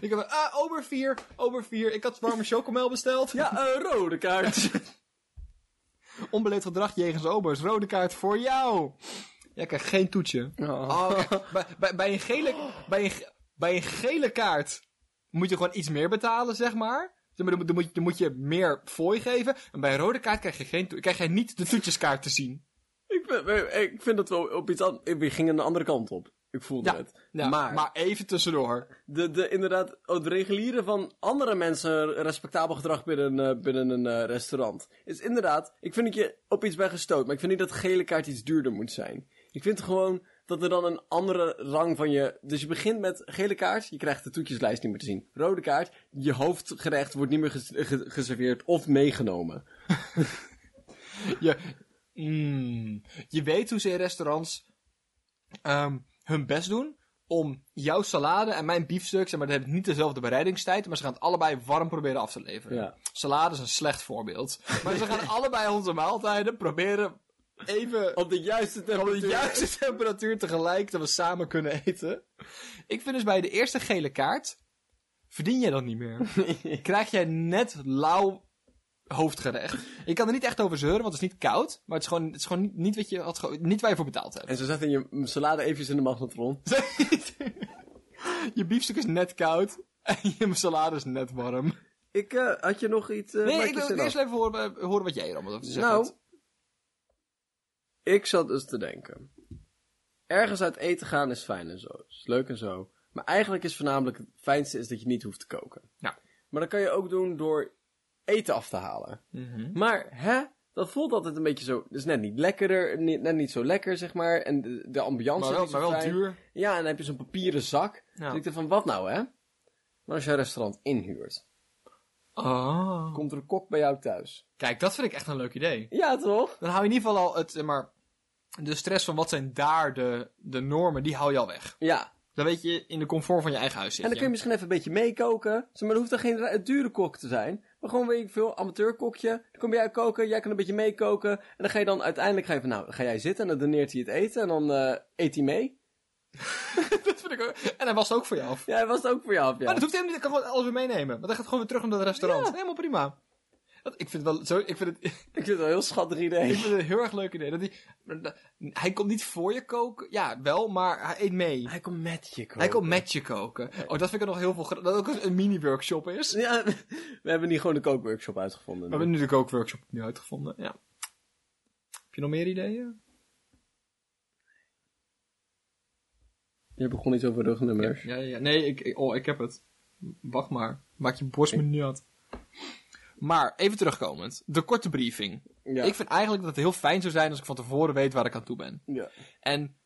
[SPEAKER 2] ik heb, ah, ober 4, ober 4, ik had warme chocomel besteld.
[SPEAKER 1] ja, een rode kaart.
[SPEAKER 2] Onbeleefd gedrag jegens obers, rode kaart voor jou. Jij krijgt geen toetje.
[SPEAKER 1] Oh.
[SPEAKER 2] Oh, oké. bij, bij, bij, een gele, bij, een, ge- bij een gele kaart moet je gewoon iets meer betalen, zeg maar. Zeg maar, Dan moet, dan moet, je- dan moet je meer fooi geven. En bij een rode kaart krijg je, geen, to- krijg je niet de toetjeskaart te zien.
[SPEAKER 1] Ik, vind, ik vind dat wel op iets anders. Ik ging aan de andere kant op. Ik voelde
[SPEAKER 2] Ja,
[SPEAKER 1] het.
[SPEAKER 2] ja,
[SPEAKER 1] maar
[SPEAKER 2] maar even tussendoor.
[SPEAKER 1] De, de, inderdaad, het regulieren van andere mensen respectabel gedrag binnen, eh, binnen een eh, restaurant. Is inderdaad, ik vind dat je op iets bij gestoot. Maar ik vind niet dat gele kaart iets duurder moet zijn. Ik vind gewoon dat er dan een andere rang van je... Dus je begint met gele kaart, je krijgt de toetjeslijst niet meer te zien. Rode kaart, je hoofdgerecht wordt niet meer ges- ge- geserveerd of meegenomen.
[SPEAKER 2] Je, Mm. je weet hoe ze in restaurants ehm, hun best doen om jouw salade en mijn biefstuk, zeg maar, dat hebben niet dezelfde bereidingstijd, maar ze gaan het allebei warm proberen af te leveren.
[SPEAKER 1] Ja.
[SPEAKER 2] Salade is een slecht voorbeeld. Maar ze gaan allebei onze maaltijden proberen even
[SPEAKER 1] Op de juiste
[SPEAKER 2] op
[SPEAKER 1] temperatuur.
[SPEAKER 2] de juiste temperatuur tegelijk, dat we samen kunnen eten. Ik vind dus bij de eerste gele kaart, verdien jij dat niet meer. Krijg jij net lauw hoofdgerecht. Je kan er niet echt over zeuren, want het is niet koud. Maar het is gewoon, het is gewoon niet, niet, wat je had, ge- niet waar je voor betaald hebt.
[SPEAKER 1] En zo zet hij je salade eventjes in de magnetron.
[SPEAKER 2] je biefstuk is net koud en je salade is net warm.
[SPEAKER 1] Ik eh, had je nog iets. eh,
[SPEAKER 2] Nee,
[SPEAKER 1] maak
[SPEAKER 2] ik
[SPEAKER 1] je
[SPEAKER 2] wil
[SPEAKER 1] zin
[SPEAKER 2] eerst
[SPEAKER 1] af?
[SPEAKER 2] even horen, eh, horen wat jij er allemaal over te zeggen
[SPEAKER 1] Nou,
[SPEAKER 2] hebt.
[SPEAKER 1] ik zat dus te denken. Ergens uit eten gaan is fijn en zo. Is leuk en zo. Maar eigenlijk is voornamelijk het fijnste is dat je niet hoeft te koken.
[SPEAKER 2] Nou.
[SPEAKER 1] Maar dat kan je ook doen door eten af te halen.
[SPEAKER 2] Mhm.
[SPEAKER 1] Maar, hè? Dat voelt altijd een beetje zo... Dus net niet lekkerder, niet, net niet zo lekker, zeg maar. En de, de ambiance
[SPEAKER 2] Maar
[SPEAKER 1] is
[SPEAKER 2] wel,
[SPEAKER 1] niet zo
[SPEAKER 2] maar wel
[SPEAKER 1] fijn.
[SPEAKER 2] duur.
[SPEAKER 1] Ja, en dan heb je zo'n papieren zak.
[SPEAKER 2] Ja.
[SPEAKER 1] Dus ik dacht van, wat nou, hè? Maar als je een restaurant inhuurt,
[SPEAKER 2] Oh.
[SPEAKER 1] komt er een kok bij jou thuis.
[SPEAKER 2] Kijk, dat vind ik echt een leuk idee.
[SPEAKER 1] Ja, toch?
[SPEAKER 2] Dan hou je in ieder geval al het, zeg maar, de stress van wat zijn daar de, de normen, die hou je al weg.
[SPEAKER 1] Ja.
[SPEAKER 2] Dan weet je in de comfort van je eigen huis
[SPEAKER 1] En dan
[SPEAKER 2] zitten.
[SPEAKER 1] kun je misschien even een beetje meekoken. Zeg maar, dan hoeft er geen ra- dure kok te zijn. Maar gewoon, weet ik veel, amateurkokje. Dan kom jij koken, jij kan een beetje meekoken. En dan ga je dan uiteindelijk, ga je van, nou, dan ga jij zitten en dan doneert hij het eten. En dan eh, eet hij mee.
[SPEAKER 2] dat vind ik ook. En hij was het ook voor je af.
[SPEAKER 1] Ja, dat was het ook voor jou af, ja.
[SPEAKER 2] Maar dat hoeft helemaal niet, ik kan gewoon alles weer meenemen. Want hij gaat gewoon weer terug naar dat restaurant.
[SPEAKER 1] Ja.
[SPEAKER 2] Helemaal prima. Dat, ik vind het wel zo, ik vind het,
[SPEAKER 1] Ik vind het wel een heel schattig
[SPEAKER 2] ik
[SPEAKER 1] idee.
[SPEAKER 2] vind het een heel erg leuk idee. Dat hij, dat- hij komt niet voor je koken, ja wel, maar hij eet mee.
[SPEAKER 1] Hij komt met je koken.
[SPEAKER 2] Hij komt met je koken. Oh, dat vind ik nog heel veel. gra- Dat ook een mini-workshop is.
[SPEAKER 1] Ja, we hebben niet gewoon de kookworkshop uitgevonden.
[SPEAKER 2] We hebben nu de kookworkshop nu uitgevonden. Ja. Heb je nog meer ideeën?
[SPEAKER 1] Je begon iets over rugnummers.
[SPEAKER 2] Ja, ja, ja. Nee, ik, ik- oh, ik heb het. Wacht maar. Maak je borst me niet uit. Maar, even terugkomend. De korte briefing.
[SPEAKER 1] Ja.
[SPEAKER 2] Ik vind eigenlijk dat het heel fijn zou zijn als ik van tevoren weet waar ik aan toe ben.
[SPEAKER 1] Ja.
[SPEAKER 2] En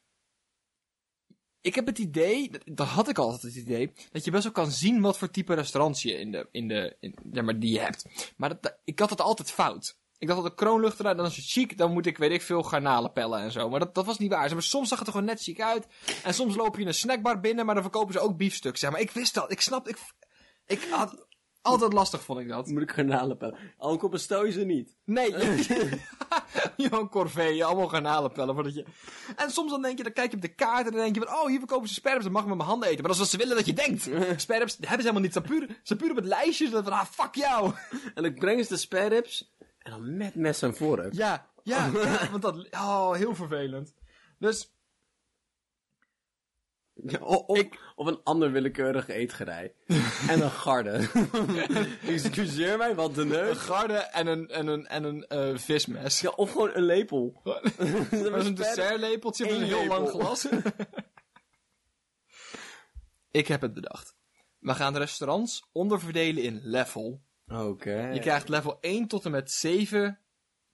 [SPEAKER 2] ik heb het idee, dat, dat had ik altijd het idee, dat je best wel kan zien wat voor type restaurant je in de, in de, in, ja, maar die je hebt. Maar dat- dat, ik had het altijd fout. Ik dacht dat de kroonluchteraar, dan is het chic, dan moet ik, weet ik veel, garnalen pellen en zo. Maar dat, dat was niet waar. Zeg Maar soms zag het er gewoon net chic uit. En soms loop je in een snackbar binnen, maar dan verkopen ze ook biefstuk. Zeg maar ik wist dat, ik snap, ik, ik had, altijd lastig vond ik dat.
[SPEAKER 1] Dan moet ik garnalen pellen. Ankel bestel je ze niet.
[SPEAKER 2] Nee, je- Johan Corvée, allemaal garnalen pellen. Voordat je... En soms dan denk je, dan kijk je op de kaart en dan denk je van, oh, hier verkopen ze sperps, dan mag ik met mijn handen eten. Maar dat is wat ze willen dat je denkt. Sperps hebben ze helemaal niet, ze puur, ze staan puur op het lijstje. Ze van, ah, fuck jou.
[SPEAKER 1] En ik breng eens de spareribs. En dan met mes en vork.
[SPEAKER 2] Ja, ja, ja, want dat, oh, heel vervelend. Dus,
[SPEAKER 1] Ja, o- of, of een ander willekeurig eetgerij. en een garde. Excuseer mij, wat de
[SPEAKER 2] een
[SPEAKER 1] neus.
[SPEAKER 2] garde en een, en een, en een eh, vismes.
[SPEAKER 1] Ja, of gewoon een lepel.
[SPEAKER 2] Dat was een
[SPEAKER 1] Sperrips.
[SPEAKER 2] dessertlepeltje met
[SPEAKER 1] Eén
[SPEAKER 2] een heel lang
[SPEAKER 1] lepel.
[SPEAKER 2] glas. Ik heb het bedacht. We gaan restaurants onderverdelen in level.
[SPEAKER 1] Oké.
[SPEAKER 2] Je krijgt level 1 tot en met 7,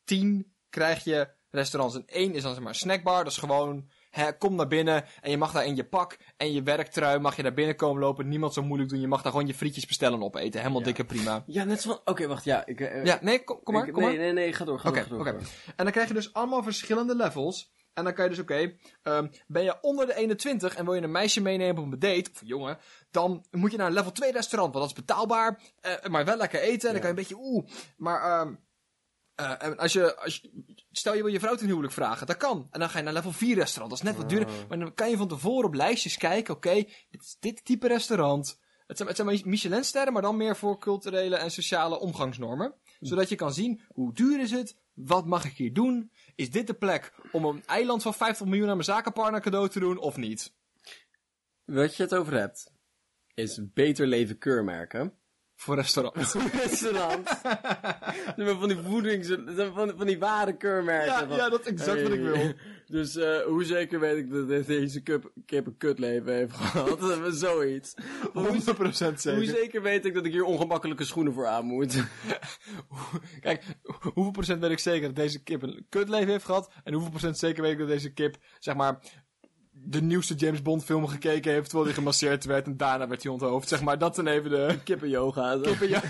[SPEAKER 2] 10 krijg je restaurants. En 1 is dan zeg maar snackbar, dat is gewoon, hè, kom naar binnen en je mag daar in je pak en je werktrui mag je daar binnen komen lopen. Niemand zo moeilijk doen, je mag daar gewoon je frietjes bestellen en opeten. Helemaal dikke prima.
[SPEAKER 1] Ja, net zo van... Oké, wacht, ja. Ik, eh,
[SPEAKER 2] Ja, nee, kom, kom maar,
[SPEAKER 1] ik-
[SPEAKER 2] kom
[SPEAKER 1] nee,
[SPEAKER 2] maar.
[SPEAKER 1] nee, nee, ga door, ga
[SPEAKER 2] Oké,
[SPEAKER 1] door,
[SPEAKER 2] oké.
[SPEAKER 1] ga door.
[SPEAKER 2] En dan krijg je dus allemaal verschillende levels. En dan kan je dus, oké, ehm, ben je onder de 21 en wil je een meisje meenemen op een date, of een jongen, dan moet je naar een level 2 restaurant, want dat is betaalbaar, eh, maar wel lekker eten. En dan kan je een beetje, oeh, maar ehm, eh, en als, je, als je, stel je wil je vrouw ten huwelijk vragen, dat kan. En dan ga je naar level 4 restaurant, dat is net wat duurder. Maar dan kan je van tevoren op lijstjes kijken, oké, dit is dit type restaurant. Het zijn, het zijn Michelinsterren, maar dan meer voor culturele en sociale omgangsnormen. Zodat je kan zien, hoe duur is het? Wat mag ik hier doen? Is dit de plek om een eiland van 50 miljoen aan mijn zakenpartner cadeau te doen of niet?
[SPEAKER 1] Wat je het over hebt, is beter leven keurmerken.
[SPEAKER 2] Voor restaurant.
[SPEAKER 1] restaurant. Ze hebben van die voedings... ze hebben Van, van die ware keurmerken.
[SPEAKER 2] Ja,
[SPEAKER 1] Van-
[SPEAKER 2] ja, dat is exact wat ik
[SPEAKER 1] Hey,
[SPEAKER 2] wil.
[SPEAKER 1] Dus eh, hoe zeker weet ik dat dit- deze kip, kip een kutleven heeft gehad? Dat hebben we zoiets.
[SPEAKER 2] 100%
[SPEAKER 1] Hoe
[SPEAKER 2] zeker.
[SPEAKER 1] zeker weet ik dat ik hier ongemakkelijke schoenen voor aan moet?
[SPEAKER 2] Kijk, ho- hoeveel procent weet ik zeker dat deze kip een kutleven heeft gehad? En hoeveel procent zeker weet ik dat deze kip, zeg maar, de nieuwste James Bond film gekeken heeft terwijl hij gemasseerd werd en daarna werd hij onthoofd? Zeg maar, dat zijn even de...
[SPEAKER 1] Kippen yoga.
[SPEAKER 2] Kippen, ja.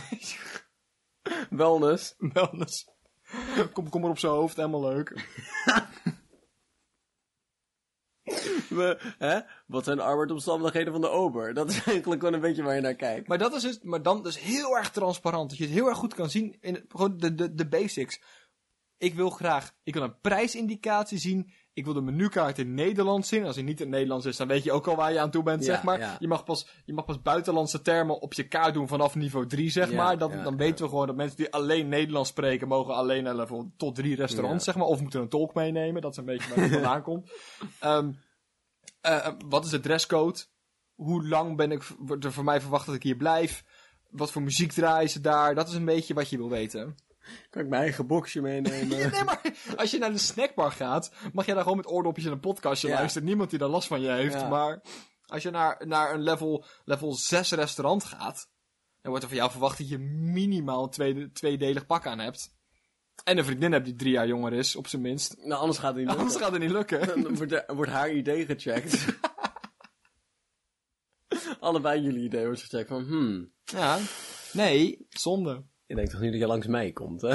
[SPEAKER 1] Wellness.
[SPEAKER 2] Wellness. Kom, kom maar op zijn hoofd, helemaal leuk.
[SPEAKER 1] We, hè? Wat zijn de arbeidsomstandigheden van de ober? Dat is eigenlijk wel een beetje waar je naar kijkt.
[SPEAKER 2] Maar dat is dus, maar dan dus heel erg transparant. Dat je het heel erg goed kan zien in het- gewoon de, de, de basics. Ik wil graag, ik wil een prijsindicatie zien. Ik wil de menukaart in Nederlands zien. Als hij niet in het Nederlands is, dan weet je ook al waar je aan toe bent,
[SPEAKER 1] Ja,
[SPEAKER 2] zeg maar.
[SPEAKER 1] ja.
[SPEAKER 2] Je, mag pas, je mag pas buitenlandse termen op je kaart doen vanaf niveau 3, zeg
[SPEAKER 1] Ja,
[SPEAKER 2] maar. Dan,
[SPEAKER 1] ja,
[SPEAKER 2] dan
[SPEAKER 1] ja.
[SPEAKER 2] weten we gewoon dat mensen die alleen Nederlands spreken, mogen alleen naar level tot drie restaurants,
[SPEAKER 1] Ja.
[SPEAKER 2] zeg maar. Of moeten een tolk meenemen. Dat is een beetje waar het vandaan komt. Ehm, eh, eh, wat is de dresscode? Hoe lang ben ik, wordt er voor mij verwacht dat ik hier blijf? Wat voor muziek draaien ze daar? Dat is een beetje wat je wil weten.
[SPEAKER 1] Kan ik mijn eigen boxje meenemen?
[SPEAKER 2] Nee, maar als je naar de snackbar gaat, mag je daar gewoon met oordopjes en een podcastje
[SPEAKER 1] Ja.
[SPEAKER 2] luisteren. Niemand die daar last van je heeft.
[SPEAKER 1] Ja.
[SPEAKER 2] Maar als je naar, naar een level, level 6 restaurant gaat, dan wordt er van jou verwacht dat je minimaal een tweede, tweedelig pak aan hebt. En een vriendin hebt die drie jaar jonger is, op zijn minst.
[SPEAKER 1] nou, anders gaat het niet
[SPEAKER 2] Anders gaat het niet lukken.
[SPEAKER 1] Dan wordt, er- wordt haar idee gecheckt. Allebei jullie idee wordt gecheckt van, hmm.
[SPEAKER 2] Ja. Nee, zonde.
[SPEAKER 1] Je denkt toch niet dat je langs mij komt, hè?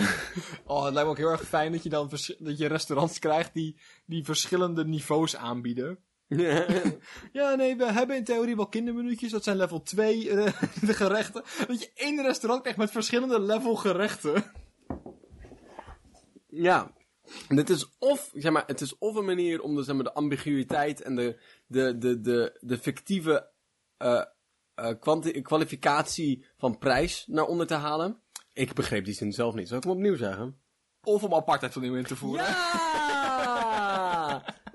[SPEAKER 2] Oh, het lijkt me ook heel erg fijn dat je dan vers- dat je restaurants krijgt die, die verschillende niveaus aanbieden. Ja, nee, we hebben in theorie wel kindermenuutjes. Dat zijn level 2 eh, de gerechten. Dat je één restaurant krijgt met verschillende level gerechten.
[SPEAKER 1] ja. Dit is of, zeg maar, het is of een manier om de, zeg maar, de ambiguïteit en de, de, de, de, de fictieve eh, eh, kwanti- kwalificatie van prijs naar onder te halen. Ik begreep die zin zelf niet. Zal ik hem opnieuw zeggen?
[SPEAKER 2] Of om apartheid opnieuw in te voeren.
[SPEAKER 1] Ja!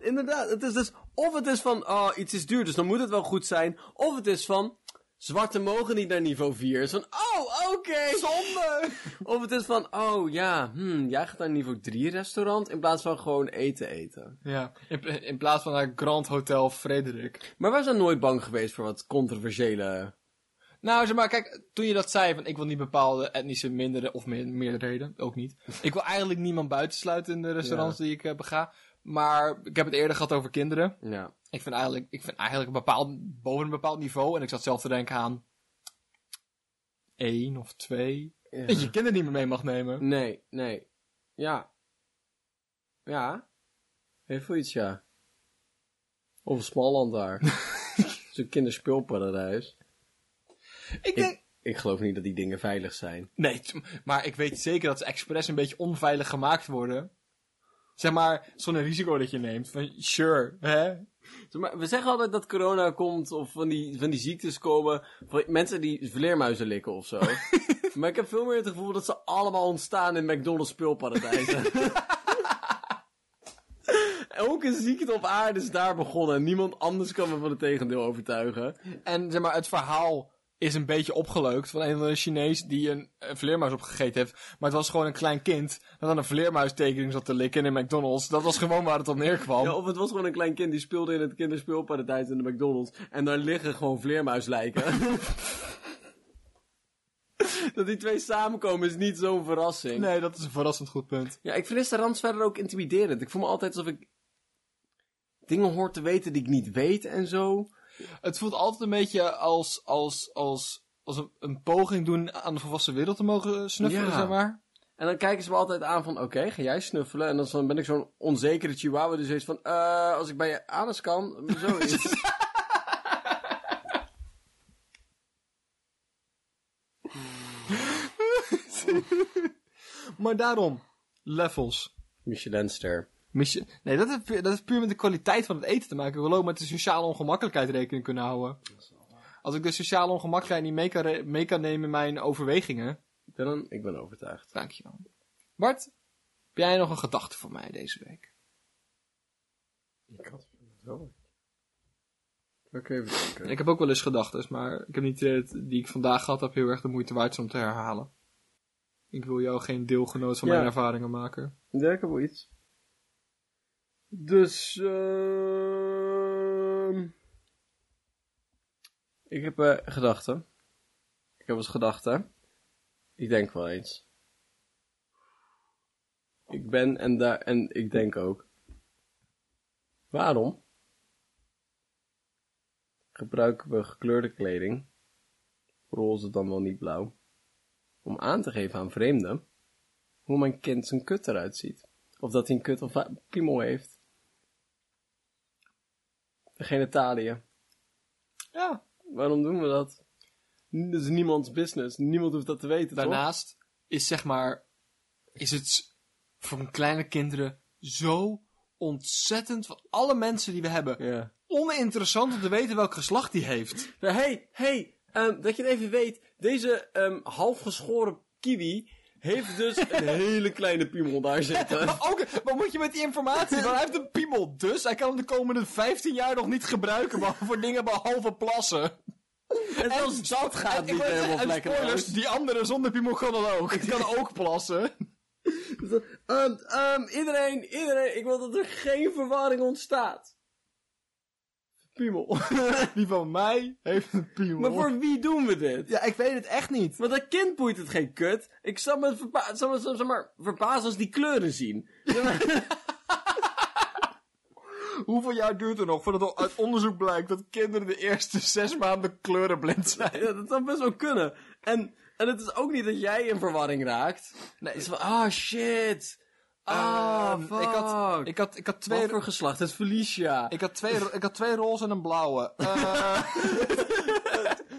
[SPEAKER 1] Inderdaad, het is dus of het is van, oh, iets is duur, dus dan moet het wel goed zijn. Of het is van, zwarte mogen niet naar niveau 4. Is van, oh, oké.
[SPEAKER 2] Zonde!
[SPEAKER 1] Of het is van, oh ja, hmm, jij gaat naar een niveau 3 restaurant in plaats van gewoon eten eten.
[SPEAKER 2] Ja, in, in plaats van naar Grand Hotel Frederik.
[SPEAKER 1] Maar wij zijn nooit bang geweest voor wat controversiële...
[SPEAKER 2] Nou, zeg maar, kijk, toen je dat zei van ik wil niet bepaalde etnische minderen of me- meerderheden, ook niet. Ik wil eigenlijk niemand buitensluiten in de restaurants die ik eh, bega. Maar ik heb het eerder gehad over kinderen.
[SPEAKER 1] Ja.
[SPEAKER 2] Ik vind eigenlijk, ik vind eigenlijk een bepaald, boven een bepaald niveau. En ik zat zelf te denken aan. één of twee. Dat je kinderen niet meer mee mag nemen.
[SPEAKER 1] Nee, nee. Ja. Ja. Heel veel iets, ja. Of Smalland daar. Zo'n kinderspeelparadijs.
[SPEAKER 2] Ik denk.
[SPEAKER 1] Ik, ik geloof niet dat die dingen veilig zijn.
[SPEAKER 2] Nee, t- maar ik weet zeker dat ze expres een beetje onveilig gemaakt worden. Zeg maar, zo'n risico dat je neemt. Van, sure, hè?
[SPEAKER 1] Zeg maar, we zeggen altijd dat corona komt of van die, van die ziektes komen. Van mensen die vleermuizen likken of zo. maar ik heb veel meer het gevoel dat ze allemaal ontstaan in McDonald's speelparadijzen. Elke ziekte op aarde is daar begonnen. en Niemand anders kan me van het tegendeel overtuigen.
[SPEAKER 2] En zeg maar, het verhaal is een beetje opgeleukt van een of andere Chinees die een, een vleermuis opgegeten heeft. Maar het was gewoon een klein kind dat aan een vleermuistekening zat te likken in een McDonald's. Dat was gewoon waar het op neerkwam.
[SPEAKER 1] Ja, of het was gewoon een klein kind die speelde in het kinderspeelparadijs in de McDonald's. En daar liggen gewoon vleermuislijken. dat die twee samenkomen is niet zo'n verrassing.
[SPEAKER 2] Nee, dat is een verrassend goed punt.
[SPEAKER 1] Ja, ik vind restaurants verder ook intimiderend. Ik voel me altijd alsof ik dingen hoor te weten die ik niet weet en zo.
[SPEAKER 2] Het voelt altijd een beetje als, als, als, als een, een poging doen aan de volwassen wereld te mogen snuffelen,
[SPEAKER 1] Ja.
[SPEAKER 2] zeg maar.
[SPEAKER 1] En dan kijken ze me altijd aan van, oké, ga jij snuffelen? En dan zo- ben ik zo'n onzekere chihuahua die zoiets van, eh, als ik bij je anus kan, zo is.
[SPEAKER 2] Maar daarom, levels.
[SPEAKER 1] Michelinster.
[SPEAKER 2] Mis je- Nee, dat heeft, pu- dat heeft puur met de kwaliteit van het eten te maken. Ik wil ook met de sociale ongemakkelijkheid rekening kunnen houden. Als ik de sociale ongemakkelijkheid niet mee kan, re- mee kan nemen in mijn overwegingen.
[SPEAKER 1] Dylan, ik ben overtuigd.
[SPEAKER 2] Dankjewel. Bart, heb jij nog een gedachte voor mij deze week?
[SPEAKER 1] Ik had het wel. Oké, even denken.
[SPEAKER 2] Ik heb ook wel eens gedachten, maar ik heb niet het idee dat die ik vandaag gehad heb heel erg de moeite waard zijn om te herhalen. Ik wil jou geen deelgenoot van
[SPEAKER 1] Ja.
[SPEAKER 2] mijn ervaringen maken.
[SPEAKER 1] Ja, ik heb wel iets. Dus, ehm Ik heb eh, gedachten. Ik heb eens gedachten. Ik denk wel eens. Ik ben en daar, en ik denk ook. Waarom gebruiken we gekleurde kleding, roze dan wel niet blauw, om aan te geven aan vreemden hoe mijn kind zijn kut eruit ziet. Of dat hij een kut of een piemel heeft. De genitalia.
[SPEAKER 2] Ja.
[SPEAKER 1] Waarom doen we dat? N- Dat is niemands business. Niemand hoeft dat te weten,
[SPEAKER 2] Daarnaast is zeg maar, is het van kleine kinderen zo ontzettend van alle mensen die we hebben.
[SPEAKER 1] Ja.
[SPEAKER 2] Oninteressant om te weten welk geslacht die heeft.
[SPEAKER 1] Hé, hey, hey, ehm, dat je het even weet. Deze ehm, halfgeschoren kiwi heeft dus een hele kleine piemel daar zitten.
[SPEAKER 2] Maar ook, wat moet je met die informatie? Want hij heeft een piemel, dus hij kan hem de komende 15 jaar nog niet gebruiken behalve voor dingen behalve plassen.
[SPEAKER 1] En zelfs dat gaat
[SPEAKER 2] Ik
[SPEAKER 1] niet
[SPEAKER 2] wou net
[SPEAKER 1] helemaal
[SPEAKER 2] zeggen, en
[SPEAKER 1] lekker
[SPEAKER 2] spoilers,
[SPEAKER 1] uit.
[SPEAKER 2] die andere zonder piemel kan dan ook. Die kan ook plassen.
[SPEAKER 1] Ehm, ehm, iedereen, iedereen, ik wil dat er geen verwarring ontstaat. Piemel.
[SPEAKER 2] Die van mij heeft een piemel.
[SPEAKER 1] maar voor wie doen we dit?
[SPEAKER 2] Ja, ik weet het echt niet.
[SPEAKER 1] Want dat kind boeit het geen kut. Ik zal me, verba zal me, zal- zal maar verbazen als die kleuren zien.
[SPEAKER 2] Hoeveel jaar duurt er nog voordat er uit onderzoek blijkt dat kinderen de eerste zes maanden kleurenblind zijn?
[SPEAKER 1] Ja, dat zou best wel kunnen. En, en het is ook niet dat jij in verwarring raakt. Nee. Het is van, ah shit. Ah,
[SPEAKER 2] Ehm,
[SPEAKER 1] fuck.
[SPEAKER 2] ik had, ik had, ik had twee...
[SPEAKER 1] Wat voor geslacht? Het Felicia.
[SPEAKER 2] Ik had twee, ro- ik had twee roze en een blauwe. Eh,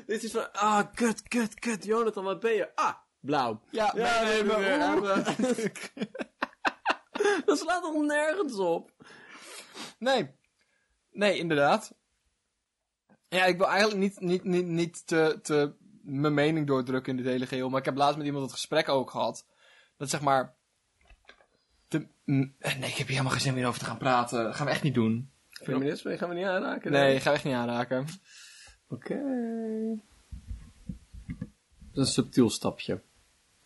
[SPEAKER 1] Dit is van, ah, kut, kut, kut. Jonathan, wat ben je? Ah, blauw.
[SPEAKER 2] ja,
[SPEAKER 1] Ja, nee, maar
[SPEAKER 2] maar
[SPEAKER 1] oeh.
[SPEAKER 2] oeh.
[SPEAKER 1] Dat slaat toch nergens op?
[SPEAKER 2] Nee. Nee, inderdaad. Ja, ik wil eigenlijk niet, niet, niet, niet te, te mijn mening doordrukken in dit hele geheel. Maar ik heb laatst met iemand het gesprek ook gehad. Dat zeg maar... De, mm, eh, nee, ik heb hier helemaal geen zin meer over te gaan praten. Dat gaan we echt niet doen.
[SPEAKER 1] Feminisme gaan we niet aanraken.
[SPEAKER 2] Nee, gaan we echt niet aanraken.
[SPEAKER 1] Oké. Dat is een subtiel stapje.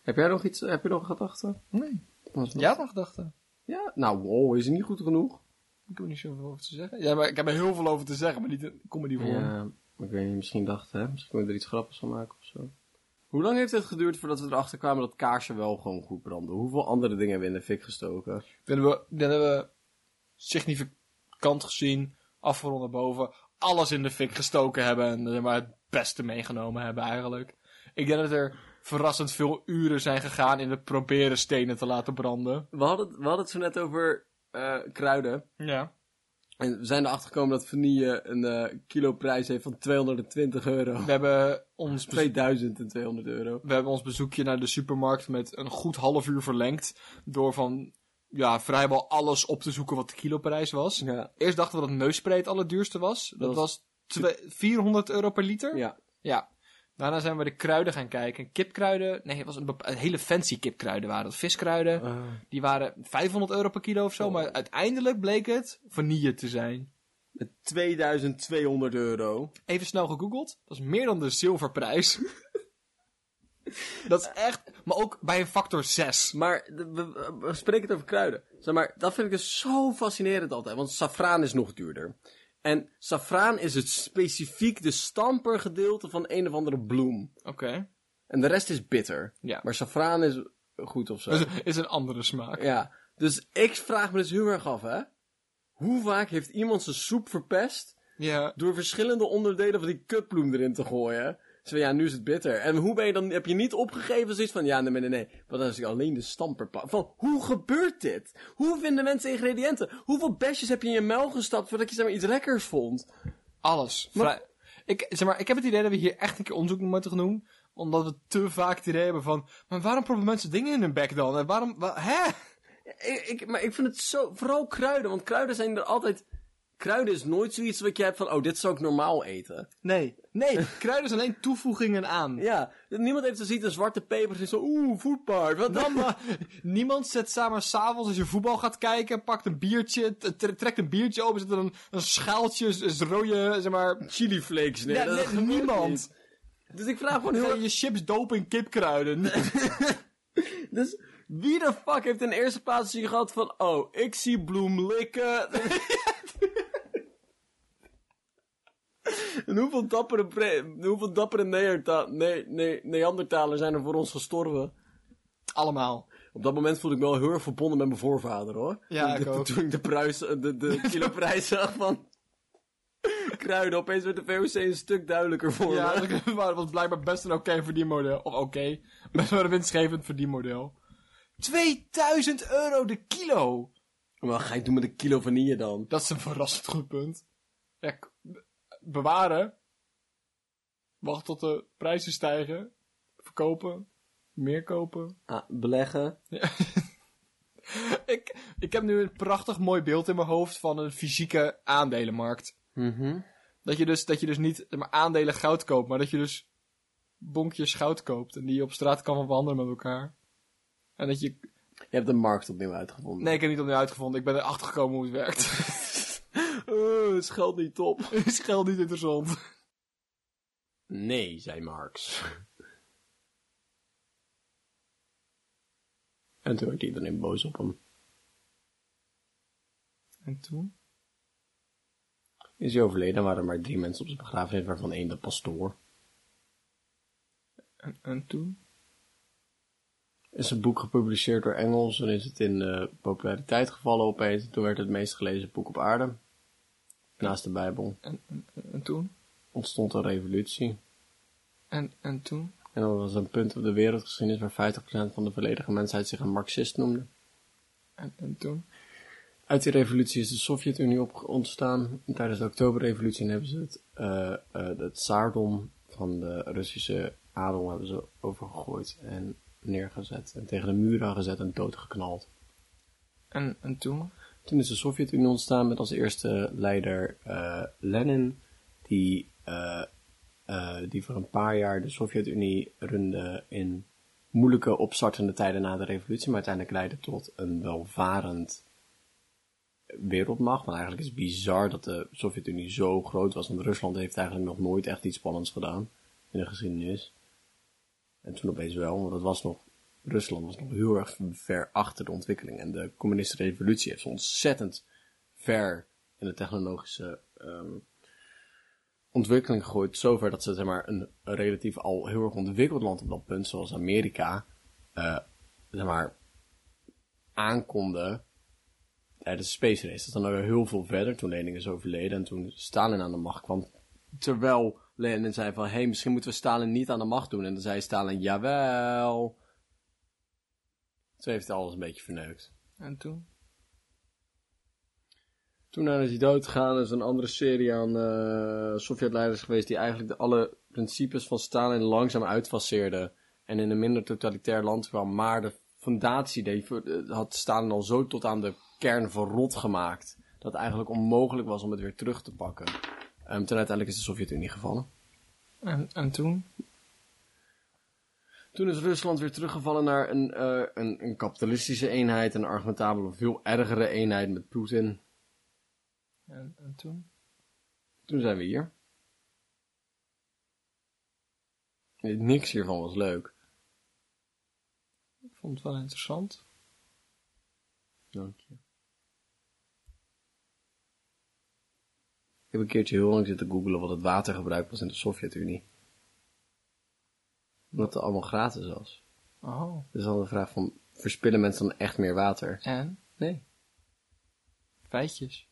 [SPEAKER 1] Heb jij nog iets, heb je nog een gedachte?
[SPEAKER 2] Nee.
[SPEAKER 1] Was
[SPEAKER 2] Jij had nog gedachten.
[SPEAKER 1] Ja, nou wow, is het niet goed genoeg?
[SPEAKER 2] Ik heb er niet zoveel over te zeggen. Ja, maar ik heb er heel veel over te zeggen, maar niet in comedy vorm.
[SPEAKER 1] ik weet niet, misschien dachten, hè? Misschien kunnen we er iets grappigs van maken of zo. Hoe lang heeft het geduurd voordat we erachter kwamen dat kaarsen wel gewoon goed branden? Hoeveel andere dingen hebben we in de fik gestoken?
[SPEAKER 2] Dan hebben we, dan hebben we significant gezien, afgerond naar boven, alles in de fik gestoken hebben en er maar het beste meegenomen hebben eigenlijk. Ik denk dat er verrassend veel uren zijn gegaan in het proberen stenen te laten branden.
[SPEAKER 1] We hadden, het- we hadden het zo net over eh, kruiden.
[SPEAKER 2] Ja.
[SPEAKER 1] En we zijn erachter gekomen dat vanille een eh, kiloprijs heeft van 220 euro.
[SPEAKER 2] We hebben, ons bezoek-
[SPEAKER 1] 2200 euro.
[SPEAKER 2] we hebben ons bezoekje naar de supermarkt met een goed half uur verlengd door van ja, vrijwel alles op te zoeken wat de kiloprijs was.
[SPEAKER 1] Ja.
[SPEAKER 2] Eerst dachten we dat neusspray het allerduurste was. Dat,
[SPEAKER 1] Dat
[SPEAKER 2] was twee- 400 euro per liter.
[SPEAKER 1] Ja.
[SPEAKER 2] Ja. Daarna zijn we de kruiden gaan kijken. Kipkruiden, nee, het was een, bepa- een hele fancy kipkruiden waren dat. Viskruiden,
[SPEAKER 1] Ah.
[SPEAKER 2] die waren 500 euro per kilo of zo. Maar uiteindelijk bleek het vanille te zijn.
[SPEAKER 1] Met 2200 euro.
[SPEAKER 2] Even snel gegoogeld, dat is meer dan de zilverprijs. dat is echt, maar ook bij een factor 6.
[SPEAKER 1] Maar de- we, we- we spreken het over kruiden. Zeg maar, dat vind ik dus zo fascinerend altijd. Want safraan is nog duurder. En safraan is het specifiek de stampergedeelte van een of andere bloem.
[SPEAKER 2] Oké.
[SPEAKER 1] En de rest is bitter.
[SPEAKER 2] Ja.
[SPEAKER 1] Maar safraan is goed of zo.
[SPEAKER 2] Dat is- is een andere smaak.
[SPEAKER 1] Ja. Dus ik vraag me dus heel erg af, hè. Hoe vaak heeft iemand zijn soep verpest
[SPEAKER 2] Ja.
[SPEAKER 1] door verschillende onderdelen van die kutbloem erin te gooien. Zo van, ja, nu is het bitter. En hoe ben je dan, heb je niet opgegeven zoiets van, ja, nee, nee, nee, nee. Want dan is ik alleen de stamper pa- Van, hoe gebeurt dit? Hoe vinden mensen ingrediënten? Hoeveel besjes heb je in je muil gestapt voordat je zeg maar, iets lekkers vond?
[SPEAKER 2] Alles. Vrij- Ik, zeg maar, ik heb het idee dat we hier echt een keer onderzoek naar moeten gaan doen. Omdat we te vaak het idee hebben van... Maar waarom proppen mensen dingen in hun bek dan? En waarom... wa- hè?
[SPEAKER 1] Ik, ik- maar ik vind het zo, vooral kruiden, want kruiden zijn er altijd... Kruiden is nooit zoiets wat je hebt van, oh, dit zou ik normaal eten.
[SPEAKER 2] Nee. Nee, kruiden zijn alleen toevoegingen aan.
[SPEAKER 1] Ja, niemand heeft zoiets een zwarte peper, zoiets van, oeh, voetpaard, wat
[SPEAKER 2] Dan, eh, niemand zet samen s'avonds als je voetbal gaat kijken, pakt een biertje, t- tre- trekt een biertje open, zet er een, een schaaltje, z- z- rode, zeg maar...
[SPEAKER 1] chili flakes, nee,
[SPEAKER 2] Ja,
[SPEAKER 1] dat
[SPEAKER 2] nee,
[SPEAKER 1] gebeurt
[SPEAKER 2] niemand.
[SPEAKER 1] niet. Dus ik vraag gewoon heel
[SPEAKER 2] Ga
[SPEAKER 1] erg-
[SPEAKER 2] je je chips dopen in kipkruiden.
[SPEAKER 1] Dus wie de fuck heeft in eerste plaats hier gehad van, oh, ik zie bloem likken. en hoeveel dappere, pre- hoeveel dappere Neerta- ne- ne- Neandertalers zijn er voor ons gestorven?
[SPEAKER 2] Allemaal.
[SPEAKER 1] Op dat moment voelde ik me wel heel erg verbonden met mijn voorvader, hoor.
[SPEAKER 2] Ja,
[SPEAKER 1] Toen
[SPEAKER 2] ik
[SPEAKER 1] de,
[SPEAKER 2] ook.
[SPEAKER 1] Toen ik de, pruis, de, de kiloprijs zag van kruiden, opeens werd de VOC een stuk duidelijker voor
[SPEAKER 2] Ja,
[SPEAKER 1] me.
[SPEAKER 2] dat was blijkbaar best een oké verdienmodel. Of oké, best wel een winstgevend verdienmodel. 2000 euro de kilo!
[SPEAKER 1] Maar wat ga je doen met een kilo vanille dan?
[SPEAKER 2] Dat is een verrassend goed punt. Ja, k- be- bewaren. Wacht tot de prijzen stijgen. Verkopen. Meer kopen.
[SPEAKER 1] Ah, beleggen.
[SPEAKER 2] Ja. Ik heb nu een prachtig mooi beeld in mijn hoofd van een fysieke aandelenmarkt.
[SPEAKER 1] Mhm.
[SPEAKER 2] Dat je dus, dat je dus niet zeg maar, aandelen goud koopt, maar dat je dus bonkjes goud koopt. En die je op straat kan verhandelen met elkaar. En dat je...
[SPEAKER 1] Je hebt de markt opnieuw uitgevonden.
[SPEAKER 2] Nee, ik heb het niet opnieuw uitgevonden. Ik ben erachter gekomen hoe het werkt.
[SPEAKER 1] Oh, het geldt niet top.
[SPEAKER 2] Is geld niet interessant.
[SPEAKER 1] Nee, zei Marx. En toen werd iedereen boos op hem.
[SPEAKER 2] En toen?
[SPEAKER 1] Is hij overleden, waren er maar drie mensen op zijn begrafenis, waarvan één de pastoor.
[SPEAKER 2] En, en toen?
[SPEAKER 1] Is een boek gepubliceerd door Engels en is het in eh, populariteit gevallen opeens. Toen werd het meest gelezen boek op aarde. Naast de Bijbel
[SPEAKER 2] En, en, en toen?
[SPEAKER 1] ontstond een revolutie.
[SPEAKER 2] En, en toen?
[SPEAKER 1] En dat was een punt op de wereldgeschiedenis waar 50% van de volledige mensheid zich een Marxist noemde.
[SPEAKER 2] En, en toen?
[SPEAKER 1] Uit die revolutie is de Sovjet-Unie op ontstaan. En Tijdens de Oktoberrevolutie hebben ze het, eh, eh, het zaardom van de Russische adel hebben ze overgegooid en neergezet. En tegen de muren gezet en doodgeknald.
[SPEAKER 2] En, en toen?
[SPEAKER 1] Toen is de Sovjet-Unie ontstaan met als eerste leider eh, Lenin, die, eh, eh, die voor een paar jaar de Sovjet-Unie runde in moeilijke opstartende tijden na de revolutie, maar uiteindelijk leidde tot een welvarend wereldmacht. Want eigenlijk is het bizar dat de Sovjet-Unie zo groot was, want Rusland heeft eigenlijk nog nooit echt iets spannends gedaan in de geschiedenis. En toen opeens wel, want dat was nog, Rusland was nog heel erg ver achter de ontwikkeling. En de communistische revolutie heeft ze ontzettend ver in de technologische ehm, ontwikkeling gegooid. Zover dat ze zeg maar, een relatief al heel erg ontwikkeld land op dat punt, zoals Amerika, eh, zeg maar, aankonden tijdens de Space Race. Dat is dan alweer heel veel verder toen Lenin is overleden en toen Stalin aan de macht kwam. Terwijl Lenin zei van, hé, hey, misschien moeten we Stalin niet aan de macht doen. En dan zei Stalin, jawel. Zo heeft hij alles een beetje verneukt.
[SPEAKER 2] En toen?
[SPEAKER 1] Toen nou is hij doodgegaan, is een andere serie aan eh Sovjet-leiders geweest die eigenlijk de, alle principes van Stalin langzaam uitfaceerden. En in een minder totalitair land kwam, maar de fundatie die, eh, had Stalin al zo tot aan de kern verrot gemaakt. Dat het eigenlijk onmogelijk was om het weer terug te pakken. Ehm toen uiteindelijk is de Sovjet-Unie gevallen.
[SPEAKER 2] En, en toen?
[SPEAKER 1] Toen is Rusland weer teruggevallen naar een, eh, een, een kapitalistische eenheid, een argumentabele, veel ergere eenheid met Poetin.
[SPEAKER 2] En, en toen?
[SPEAKER 1] Toen zijn we hier. Niks hiervan was leuk.
[SPEAKER 2] Ik vond het wel interessant.
[SPEAKER 1] Dank je. Ik heb een keertje heel lang zitten googelen wat het watergebruik was in de Sovjet-Unie. Omdat het allemaal gratis was.
[SPEAKER 2] Oh.
[SPEAKER 1] Dus dan de vraag van, verspillen mensen dan echt meer water?
[SPEAKER 2] En?
[SPEAKER 1] Nee.
[SPEAKER 2] Feitjes.